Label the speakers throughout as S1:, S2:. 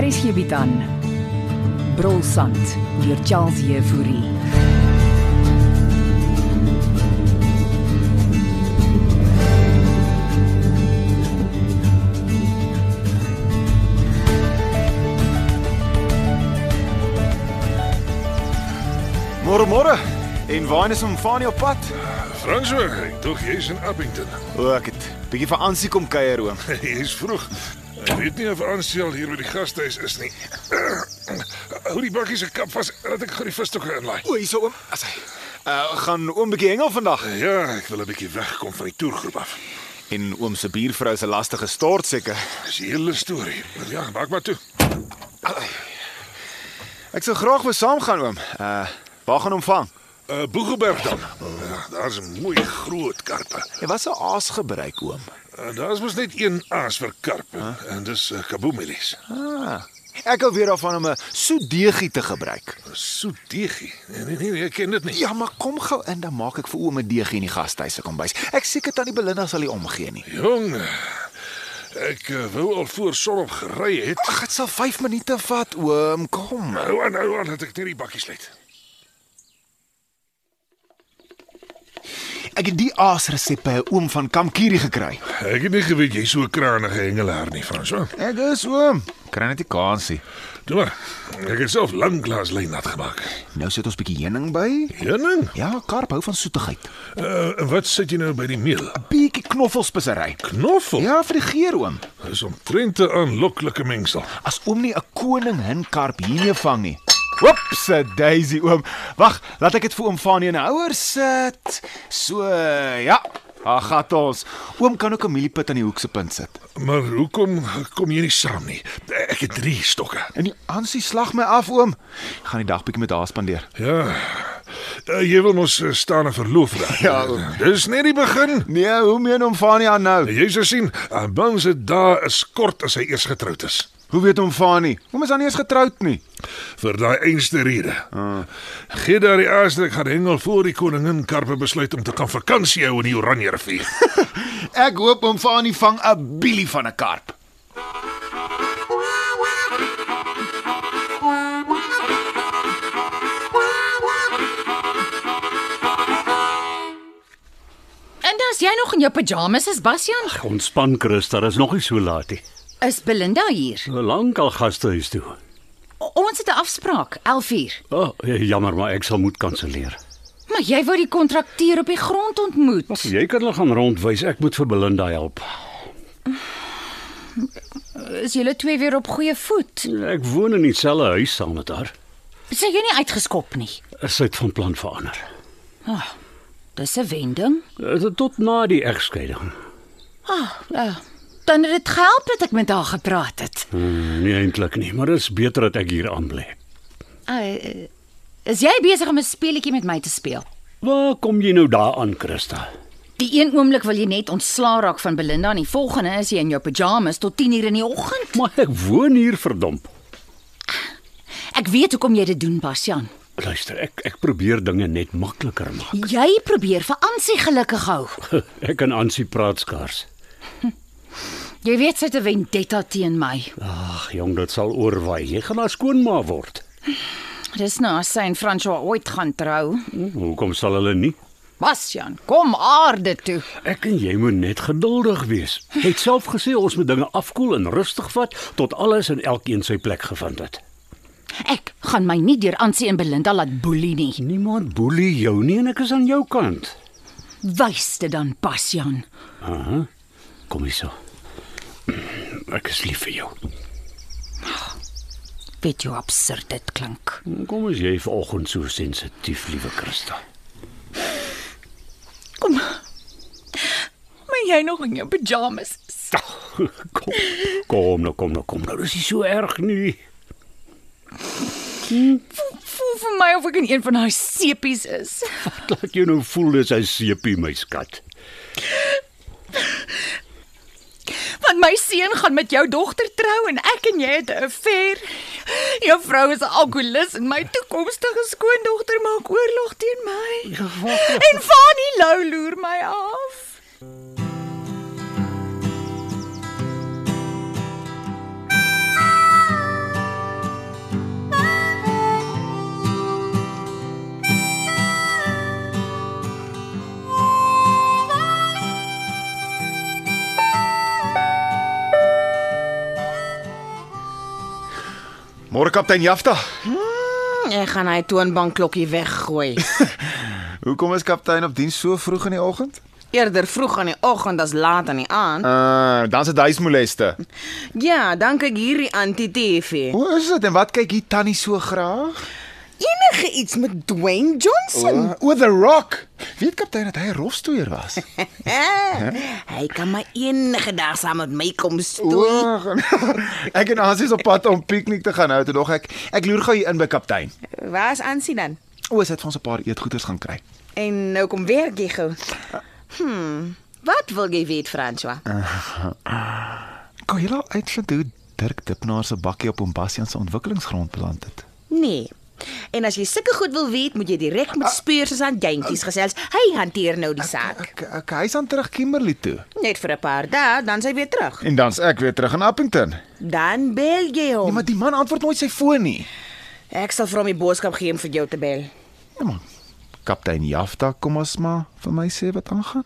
S1: Hier is hierby dan. Brolsand deur Charles Euphorie.
S2: Môre môre. En waarheen is Mfani op pad?
S3: Franso, ek dink jy's in Abington.
S2: O, ek het bietjie vir Ansie kom kuier oom.
S3: jy's vroeg. Ek weet nie of Ansel hier by die gastehuis is nie. Hou die bakkie se kap vas dat ek gou die visstokke inlaai.
S2: O, hierso oom. As hy. Uh, gaan oom bietjie hengel vandag.
S3: Ja, ek wil 'n bietjie wegkom van die toergroep af.
S2: En oom se buurvrou se lastige stort seker.
S3: Dis 'n hele storie. Ja, maak maar toe.
S2: Ek sou graag wou saamgaan oom. Uh, waar gaan hom vang?
S3: Uh Boegelberg dan. Ja, daar's 'n mooi groot karpe.
S2: Hy was 'n aas gebruik oom.
S3: Uh, daar's mos net een aas vir karpe huh? en dis uh, kaboomelies.
S2: Ah. Ek hou weer daarvan om 'n soet deegie te gebruik.
S3: Soet deegie. Nee nee, nee, ek ken dit nie.
S2: Ja, maar kom gou in dan maak ek vir oom 'n deegie in die gastehuis se kombuis. Ek seker tannie Belinda sal nie omgee nie.
S3: Jong. Ek uh, wou al voor sonop gery het.
S2: Ag, dit sal 5 minute vat oom. Kom.
S3: Hou aan, hou aan dat nou, ek net die bakkie sluit.
S2: Ek het die aasresep by 'n oom van Kamkiri gekry.
S3: Ek het nie geweet jy's so 'n kranige hengelaar nie, Franso.
S2: Ek is oom. Kry net die kansie.
S3: Toe maar. Ek het self lank glas lyn nat gemaak.
S2: Nou sit ons bietjie heuning by.
S3: Jenning,
S2: Ja, karp hou van soetigheid.
S3: uh, wat sit jy nou by die meel?
S2: Bietjie knoffelspesery.
S3: Knoffel.
S2: Ja, vir die geur oom.
S3: Dis omtrent 'n aanloklike mengsel.
S2: As oom nie 'n koning hinkarp hiermee vang nie. Hoepse Daisy oom. Wag, laat ek dit vir oom Fanie in 'n houer sit. So, ja. Ag, gat ons. Oom kan ook 'n mieliepit aan die hoek se punt sit.
S3: Maar hoekom kom jy nie saam nie? Ek het 3 stokke.
S2: En die Ansie slag my af oom. Ek gaan die dag bietjie met haar spandeer.
S3: Ja. Uh, jy wil mos eh, staan en verloof raak.
S2: Ja, oom.
S3: Dis net die begin.
S2: Nee, hoe meen oom Fanie aan nou?
S3: Jy sal sien, Ban se dae is kort as hy eers getroud is.
S2: Hoe weet hom Fanie? Hom is aan nie eens getroud nie.
S3: Vir daai einste rede. Uh. Gee daar die aas dat ek gaan hengel voor die koningin Karpe besluit om te gaan vakansie hou in die Oranje rivier.
S2: Ek hoop hom Fanie vang 'n bielie van 'n karp.
S4: En dan's jy nog in jou pyjamas as Basjan?
S5: Ontspan Chris, daar is nog nie so laat nie.
S4: Is Belinda hier?
S5: So lank al gastehuis toe.
S4: O, ons het 'n afspraak, 11uur.
S5: O, oh, jammer maar ek sal moet kanselleer.
S4: Maar jy wou die kontrakteur op die grond ontmoet.
S5: Jy kan hulle gaan rondwys. Ek moet vir Belinda help.
S4: Is julle twee weer op goeie voet?
S5: Ek woon in dieselfde huis saam met haar.
S4: Sy jy nie uitgeskop nie.
S5: Sy het van plan verander.
S4: Dis 'n wending.
S5: Eh, Tot na die egskeiding.
S4: Ah, uh, dan het dit gehelp dat ek met haar gepraat het.
S5: Hmm, nie eintlik nie, maar dit is beter dat ek hier aanbly.
S4: Uh, is jy besig om 'n speletjie met my te speel?
S5: Waar kom jy nou daaraan, Christa?
S4: Die een oomblik wil jy net ontslaa raak van Belinda en die volgende is jy in jou pyjamas tot 10:00 in die oggend.
S5: Maar ek woon hier verdomp.
S4: Ek weet hoekom jy dit doen, Basjan.
S5: Luister, ek ek probeer dinge net makliker maak.
S4: Jy probeer vir Ansie gelukkig hou.
S5: Ek kan aansie praat skaars.
S4: Jy weet sy het 'n vendetta teen my.
S5: Ag, jong, dit sal oorwaai. Jy gaan haar skoonma word.
S4: Dis nou as sy en François ooit gaan trou.
S5: Hm, Hoekom sal hulle nie?
S4: Bastian, kom aarde toe.
S5: Ek en jy moet net geduldig wees. Jy het self gesê ons moet dinge afkoel en rustig vat tot alles en elkeen sy plek gevind het.
S4: Ek gaan my nie deur Ansie en Belinda laat boelie nie.
S5: Niemand boelie jou nie en ek is aan jou kant.
S4: Wys dit dan, Bastian.
S5: Aha. Kom hier so. Ek is lief vir jou.
S4: Weet jy hoe absurd dit klink?
S5: Kom as jy vanoggend so sensitief, liewe Christa.
S4: Maar jy nog in jou pyjamas.
S5: Kom. Kom nou, kom nou, kom nou. Dis nie so erg nie.
S4: Voel vir my of ek in een van daai sepies is.
S5: Wat laat jou nou voel dis hy seepie my skat?
S4: Want my seun gaan met jou dogter trou en ek en jy het 'n affair. Jou vrou is 'n alkolikus en my toekomstige skoondogter maak oorlog teen my. En Fanny Lou loer my af.
S2: Môre kaptein Jafta.
S6: Ek gaan hy toonbankklokkie weggooi.
S2: Hoekom is kaptein op diens so vroeg in die oggend?
S6: Eerder vroeg aan die oggend as laat aan die aand.
S2: Uh, dan se duismoleste.
S6: Ja, dan kyk hierdie anti-TV.
S2: Hoe is dit en wat kyk hier tannie so graag?
S6: Enige iets met Dwayne Johnson.
S2: O, The Rock. Weet kaptein dat hy 'n rolstoeier was?
S6: Eh, hy kan maar enige dag saam met my kom stoei.
S2: Oeg. ek en Ansie is op pad om piknik te gaan hou toe nog ek ek loer gou hier in by kaptein.
S6: Waar's Ansie dan?
S2: O, sy het vir ons 'n paar eetgoeders gaan kry.
S6: En nou kom weer jy gou. Hm. Wat wil jy weet, François?
S2: Kan jy al uitvind hoe Dirk Dipnaar se bakkie op Bombasian se ontwikkelingsgrond beland het?
S6: Nee. En as jy sulke goed wil weet, moet jy direk met speurs aan jentjies gesels. Hy hanteer nou die saak.
S2: Ek ek hy's aan terug Kimberley toe.
S6: Net vir 'n paar dae, dan sy weer terug.
S2: En dan's ek weer terug in Appington.
S6: Dan bel jy
S2: Nee,
S6: hom.
S2: maar die man antwoord nooit sy foon nie.
S6: Ek sal vir hom die boodskap gee om vir jou te bel.
S2: Ja man. Kaptein Jafta, kom ons maar vir my sê wat aangaan.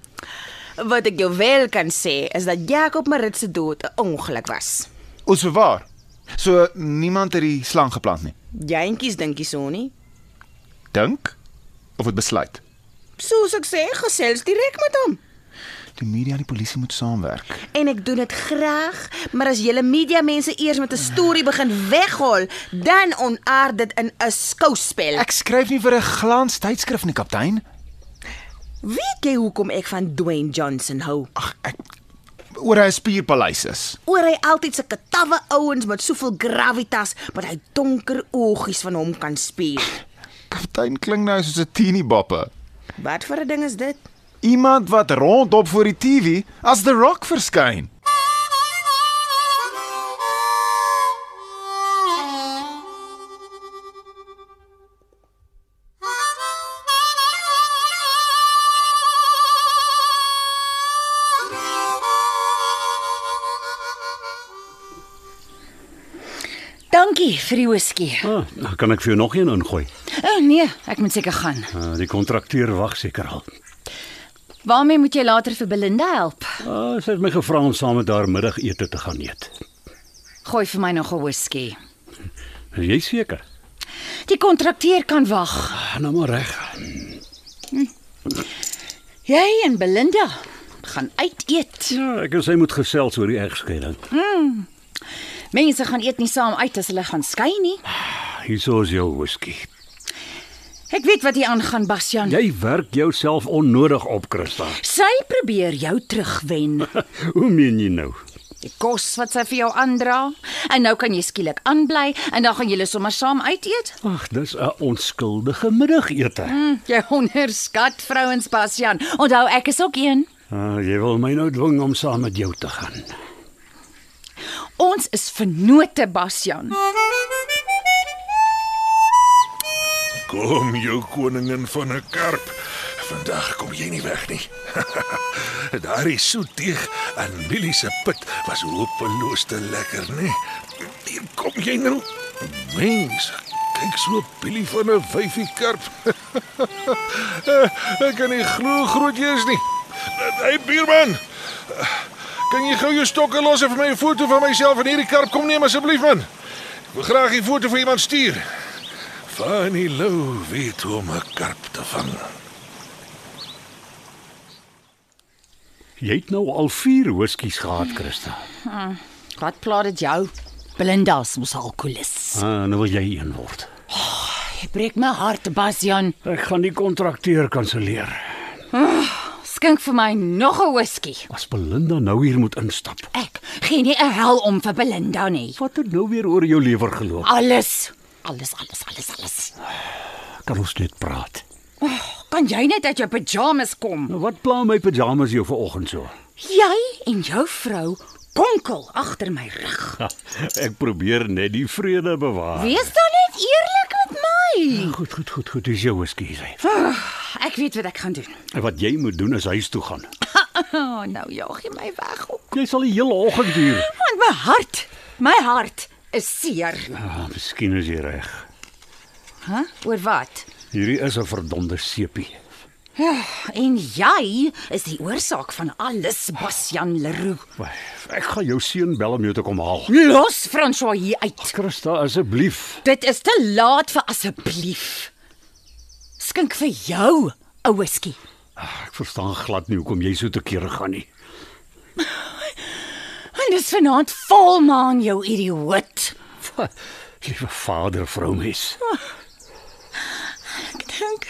S6: Wat ek jou wel kan sê is dat Jakob Marit se dood 'n ongeluk was.
S2: Ons bewaar. So niemand het die slang geplant nie.
S6: Jentjies dink jy so nie?
S2: Dink of het besluit.
S6: Soos ek sê, gesels direk met hom.
S2: Die media en die polisie moet saamwerk.
S6: En ek doen dit graag, maar as julle media mense eers met 'n storie begin weghol, dan onaard dit in 'n skouspel. Ek
S2: Ek skryf nie vir 'n glans tydskrif nie, kaptein.
S6: weet jy hoekom ek van Dwayne Johnson hou.
S2: Ag, ek oor hy 'n spierpaleis is.
S6: Oor hy altyd sulke tawwe ouens met soveel gravitas, maar hy donker oogies van hom kan spier.
S2: Kaptein klink nou soos 'n teenieboppe.
S6: Wat vir 'n ding is dit?
S2: Iemand wat rondop voor die TV as The Rock verskyn.
S4: Dankie vir die whisky.
S5: Ah, dan kan ek vir jou nog een ingooi.
S4: O oh, nee, ek moet seker gaan.
S5: Uh, die kontrakteur wag seker al.
S4: Waarmee moet jy later vir Belinda help?
S5: Ah, sy het my gevra om saam met haar middagete te gaan eet.
S4: Gooi vir my nog 'n whisky.
S5: Is jy seker?
S4: Die kontrakteur kan wag.
S5: Ah, nou maar reg.
S4: Jy en Belinda gaan uit eet.
S5: Ja, ek en sy moet gesels oor die egskeiding.
S4: Mense gaan eet nie saam uit as hulle gaan skei nie.
S5: Hierso is jou whisky.
S4: Ek weet wat hier aangaan, Bastian.
S5: Jy werk jouself onnodig op, Christa.
S4: Sy probeer jou terugwen.
S5: Hoe meen jy nou?
S4: Die kos wat sy vir jou aandra, en nou kan jy skielik aanbly en dan gaan julle sommer saam uit eet.
S5: Ag, dis 'n onskuldige middagete.
S4: Hm, jy onderskat vrouens Bastian. Onthou ek is ook een.
S5: Ah, jy wil my nou dwing om saam met jou te gaan.
S4: Ons is vennote Bastian.
S3: Kom jou koningin van 'n karp. Vandag kom jy nie weg nie. Daardie soet deeg aan Millie se pit was hopeloos te lekker, nê? Hier kom jy nou. Mens, kyk so Billy van 'n wyfie karp. Ek kan nie glo hoe groot jy is nie. Hey buurman. Kan jy gou jou stokke los en vir my 'n foto van myself en hierdie karp kom neem asseblief man? Ek wil graag 'n foto vir iemand stuur. Fanny Lou weet hoe om 'n karp te vang.
S5: Jy het nou al 4 whiskies gehad, Christa.
S4: Wat pla dit jou? Belinda's mos alkoholis.
S5: Ah, nou wil jy een word.
S4: Jy breek my hart Bastian.
S5: Ek gaan die kontrakteur kanselleer.
S4: Skink vir my nog 'n whisky.
S5: As Belinda nou hier moet instap.
S4: Ek gee nie 'n hel om vir Belinda nie.
S5: Wat het nou weer oor jou lewer geloop?
S4: Alles, alles, alles, alles, alles.
S5: Kan ons net praat.
S4: Kan jy net uit jou pyjamas kom?
S5: Nou, Wat pla my pyjamas jou vanoggend so?
S4: Jy en jou vrou
S6: konkel agter my rug.
S5: Ek probeer net die vrede bewaar.
S6: Wees dan net eerlik met my.
S5: Goed, goed, goed, goed. Dis jou ekskuusie.
S6: Ek weet wat ek gaan doen.
S5: Wat jy moet doen is huis toe gaan.
S4: Oh, nou jaag jy my weg op.
S5: Jy sal die hele oggend duur.
S4: Want my hart, my hart is seer.
S5: Ah, miskien is jy reg.
S4: Hæ? Huh? Oor wat?
S5: Hierdie is 'n verdomde seepie.
S4: En jy is die oorsaak van alles, Bastian Leroux.
S5: Ek gaan jou seun bel om jou te kom haal.
S4: Los François hier uit.
S5: Nee. Christa, asseblief.
S4: Dit is te laat vir asseblief. Skink vir jou 'n whisky.
S5: Ah, Ek verstaan glad nie hoekom jy so te kere gaan nie.
S4: En dis vanaand volmaan jou idioot.
S5: Va- Liewe vader, vroumens.
S4: Ek dink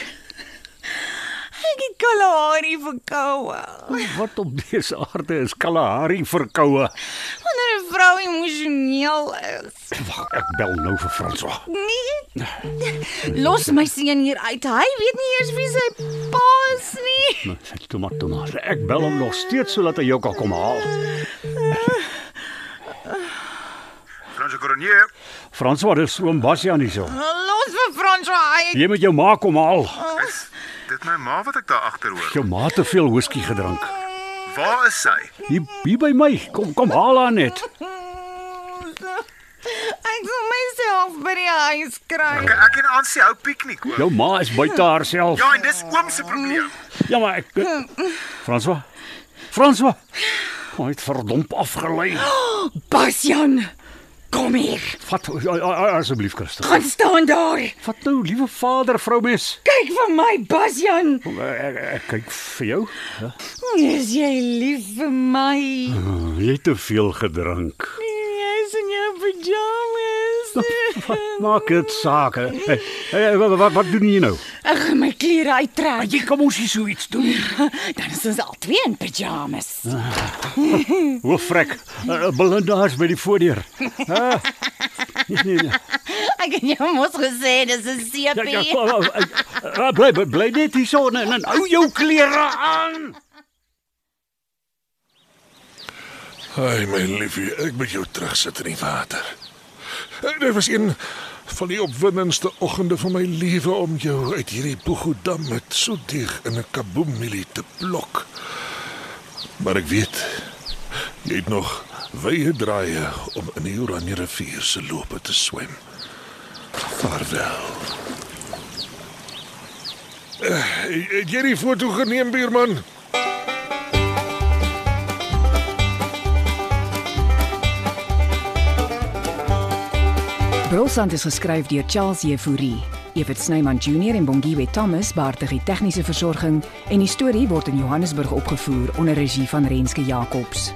S4: ek het Kalahari verkoue.
S5: Wat op dese aarde is Kalahari verkoue?
S4: Wanneer 'n vrou emosioneel is.
S5: Wag, ek bel nou vir François.
S4: Nee. Los my seun hier uit. Hy weet nie eers wie sy pa is nie.
S5: Nou, sê toe maar toe maar. Ek bel hom nog steeds sodat hy jou kan kom haal.
S3: Franse Coronier.
S5: François, dis oom Bastian hierso.
S4: Los vir François uit.
S5: Jy moet jou ma kom haal.
S3: Is dit my ma wat ek daar agter
S2: Ja.
S3: hoor?
S5: Jou ma het te veel whisky gedrink.
S3: Waar is sy?
S5: Hier, hier by my. Kom kom haal haar net.
S4: Ek wil myself by die huis kry.
S3: Ek en Ansie hou piknik oom.
S5: Jou ma is buite haarself.
S3: en dis oom se probleem.
S5: Ja, maar ek François. François. Hy het verdomp afgelei.
S4: Bastian, kom hier.
S5: Vat a- a- a- asseblief, Christa.
S4: Gaan staan daar.
S5: Vat nou, liewe vader, vroumes.
S4: Kyk vir my, Bastian.
S5: Ek, ek kyk vir jou.
S4: Is jy lief vir my?
S5: Oh, jy het te veel gedrink.
S4: Jy's Nee, in jou pyjamas.
S5: Maak dit saak. hè. Hey, hey, wat, wat wat doen jy nou?
S4: Ek gaan my klere uittrek.
S5: Jy kom ons Ah, hier so iets doen.
S4: Dan is ons al twee in pyjamas.
S5: Hoe vrek. Uh, Belinda is by die voordeur. Ah. Nee, nee, nee.
S4: Ek het jou mos gesê dis 'n
S5: Ja, ja,
S4: seepie.
S5: kom, ah, ah, ah, bly bly- bly net hier Nou, so en en hou jou klere aan.
S3: Ai my liefie, ek moet jou terugsit in die water. Eh, Dit was een van die opwindendste oggende van my lewe om jou uit hierdie Bogodam met so dig in 'n kaboemielie te plok. Maar ek weet jy het nog wye draaie om in die Oranje rivier se lope te swem. Vaarwel. Uh, het jy die foto geneem, buurman?
S1: Brosant is geskryf deur Charles Jefouri. Evit Snyman Junior en Bongwe Thomas baartig die tegniese versorging en die storie word in Johannesburg opgevoer onder regie van Renske Jacobs.